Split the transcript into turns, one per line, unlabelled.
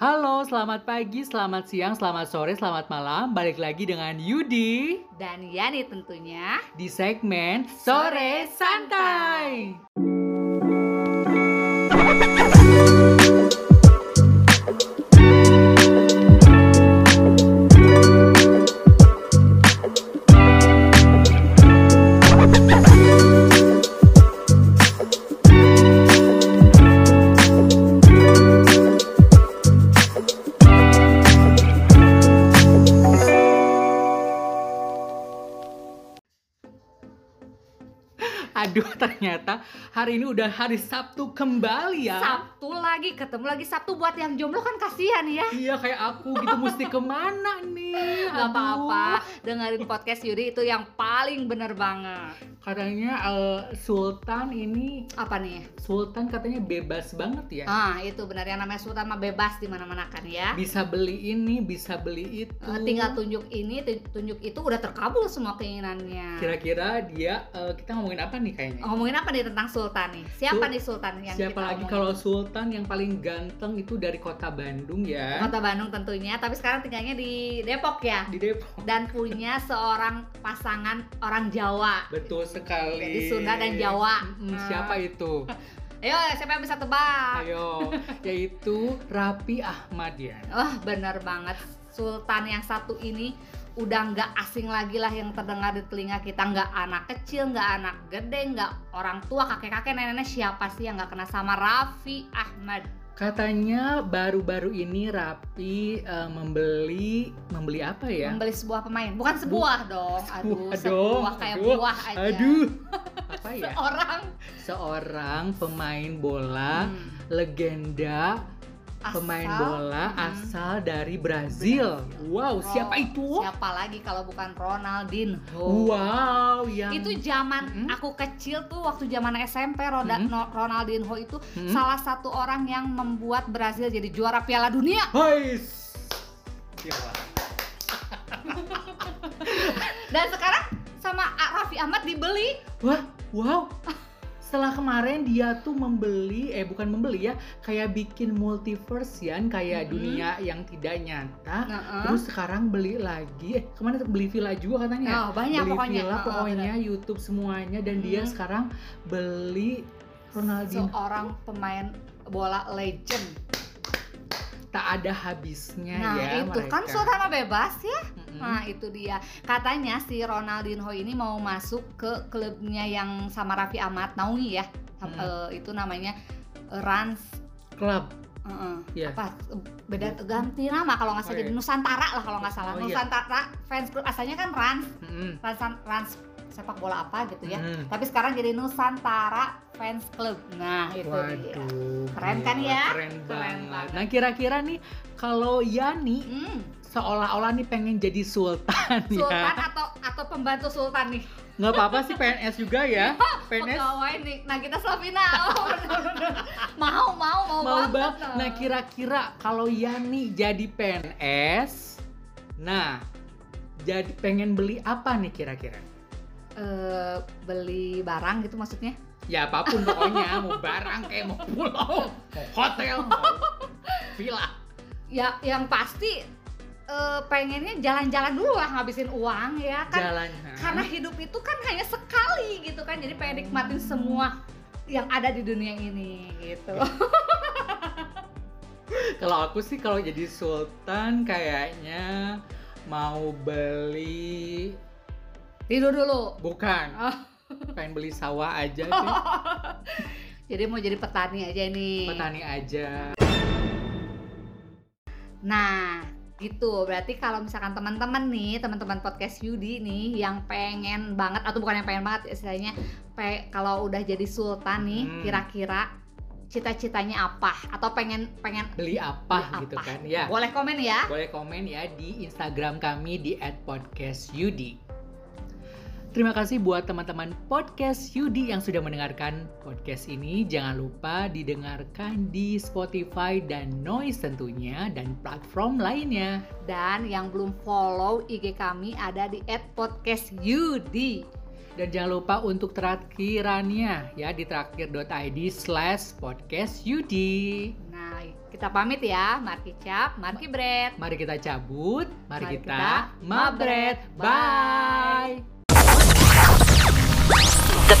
Halo, selamat pagi, selamat siang, selamat sore, selamat malam. Balik lagi dengan Yudi
Dan Yani tentunya.
di segmen Sore Santai. Aduh, ternyata hari ini udah hari Sabtu kembali ya.
Sabtu lagi, ketemu lagi Sabtu buat yang jomblo kan kasihan ya.
Iya, kayak aku gitu mesti kemana nih?
Gak
Aduh.
apa-apa, dengerin podcast Yudi itu yang paling bener banget.
Katanya eh, Sultan ini
Apa nih?
Sultan katanya bebas banget ya.
Ah, itu benar yang namanya Sultan mah bebas di mana-mana kan ya.
Bisa beli ini, bisa beli itu.
Eh, tinggal tunjuk ini, tu- tunjuk itu udah terkabul semua keinginannya.
Kira-kira dia eh, kita ngomongin apa nih kayaknya?
Ngomongin apa nih tentang Sultan nih? Siapa
Sul-
nih Sultan yang
Siapa
kita
lagi
ngomongin?
kalau Sultan yang paling ganteng itu dari kota Bandung ya?
Kota Bandung tentunya, tapi sekarang tinggalnya di Depok ya.
Di Depok.
Dan punya seorang pasangan orang Jawa.
Betul sekali.
Jadi Sunda dan Jawa. Nah.
Mm, Siapa itu?
Ayo, siapa yang bisa tebak?
Ayo, yaitu Rapi Ahmad ya.
Wah, bener banget. Sultan yang satu ini udah nggak asing lagi lah yang terdengar di telinga kita nggak anak kecil nggak anak gede nggak orang tua kakek kakek nenek nenek siapa sih yang nggak kena sama Raffi Ahmad
Katanya baru-baru ini Rapi eh, membeli membeli apa ya?
membeli sebuah pemain bukan sebuah dong aduh
Sebuah dong,
sebuah kayak
aduh,
buah aja
Aduh. Apa ya?
seorang
Seorang pemain bola
Hmm.
legenda
Asal-
pemain bola
Hmm.
asal dari Brazil.
Brazil. Oh,
Wow,
Ro-
siapa itu?
siapa lagi kalau bukan Ronaldinho
Wow, yang
gitu. itu zaman
Mm-mm.
aku kecil tuh waktu zaman SMP Roda,
Mm-mm.
No- Ronaldinho itu
Hmm?
salah satu orang yang membuat Brazil jadi juara Piala Dunia
Hais. Gila.
dan sekarang sama A- Raffi Ahmad dibeli
Wah, wow. Setelah kemarin dia tuh membeli, eh bukan membeli ya, kayak bikin multiverse Yan, kayak
Mhm.
dunia yang tidak nyata.
Heeh.
Terus sekarang beli lagi, eh kemana tuh? beli villa juga katanya. ya?
Oh, banyak
Nah, beli
pokoknya
villa,
Heeh,
pokoknya YouTube semuanya dan dia
Mhm.
sekarang beli
bener.
Ronaldinho
seorang pemain bola legend
tak ada habisnya
nah
ya
itu
mereka.
kan suara bebas ya
Mhm.
nah itu dia katanya si Ronaldinho ini mau masuk ke klubnya yang sama Raffi Ahmad naungi ya
Hmm.
Eh, itu namanya Rans
Club.
Heeh.
Iya.
apa beda ganti nama kalau nggak salah
Oh, iya.
jadi Nusantara lah kalau nggak salah
Oh, iya.
Nusantara fans club asalnya kan Rans
Mhm.
Rans Rans sepak bola apa gitu ya
Mhm.
tapi sekarang jadi Nusantara fans club nah itu dia
Waduh, gila,
Keren kan ya?
Keren
Keren
banget.
banget.
Nah, kira-kira nih kalau Yani
Hmm,
seolah-olah nih pengen jadi sultan,
Sultan
ya.
atau atau pembantu Sultan nih
Nggak apa-apa sih PNS juga ya. PNS
pegawai nih nah kita Slavina Oh, bener-bener. mau mau mau,
mau
banget
banget. Nah, kira-kira kalau Yani jadi PNS, nah jadi pengen beli apa nih kira-kira?
Eh, beli barang gitu maksudnya
Ya apapun pokoknya, mau barang kayak mau pulau, mau hotel, mau villa.
ya yang pasti eh, pengennya jalan-jalan dulu lah ngabisin uang ya kan
Jalan. hah?
karena hidup itu kan hanya sekali gitu kan jadi pengen nikmatin semua yang ada di dunia ini gitu
Kalau aku sih kalau jadi sultan kayaknya mau beli
tidur dulu
bukan.
Oh.
Pengen beli sawah aja sih,
jadi mau jadi petani aja nih
petani aja.
nah gitu berarti kalau misalkan teman-teman nih teman-teman podcast Yudi nih yang pengen banget atau bukan yang pengen banget istilahnya pe- kalau udah jadi sultan nih
Hmm.
kira-kira cita-citanya apa atau pengen pengen
Beli apa
Beli
gitu
apa?
kan ya.
boleh komen ya
Boleh komen ya di Instagram kami di @podcastyudi. Terima kasih buat teman-teman podcast Yudi yang sudah mendengarkan podcast ini. Jangan lupa didengarkan di Spotify dan Noise tentunya dan platform lainnya.
Dan yang belum follow IG kami ada di @podcastyudi.
Dan jangan lupa untuk terakhirannya ya di traktir.id slash podcast
Nah, Kita pamit ya, Marki Cap, Marki Bread.
Mari kita cabut, mari,
Mari
kita,
kita
mabret.
mabret. Bye.
Bye.
The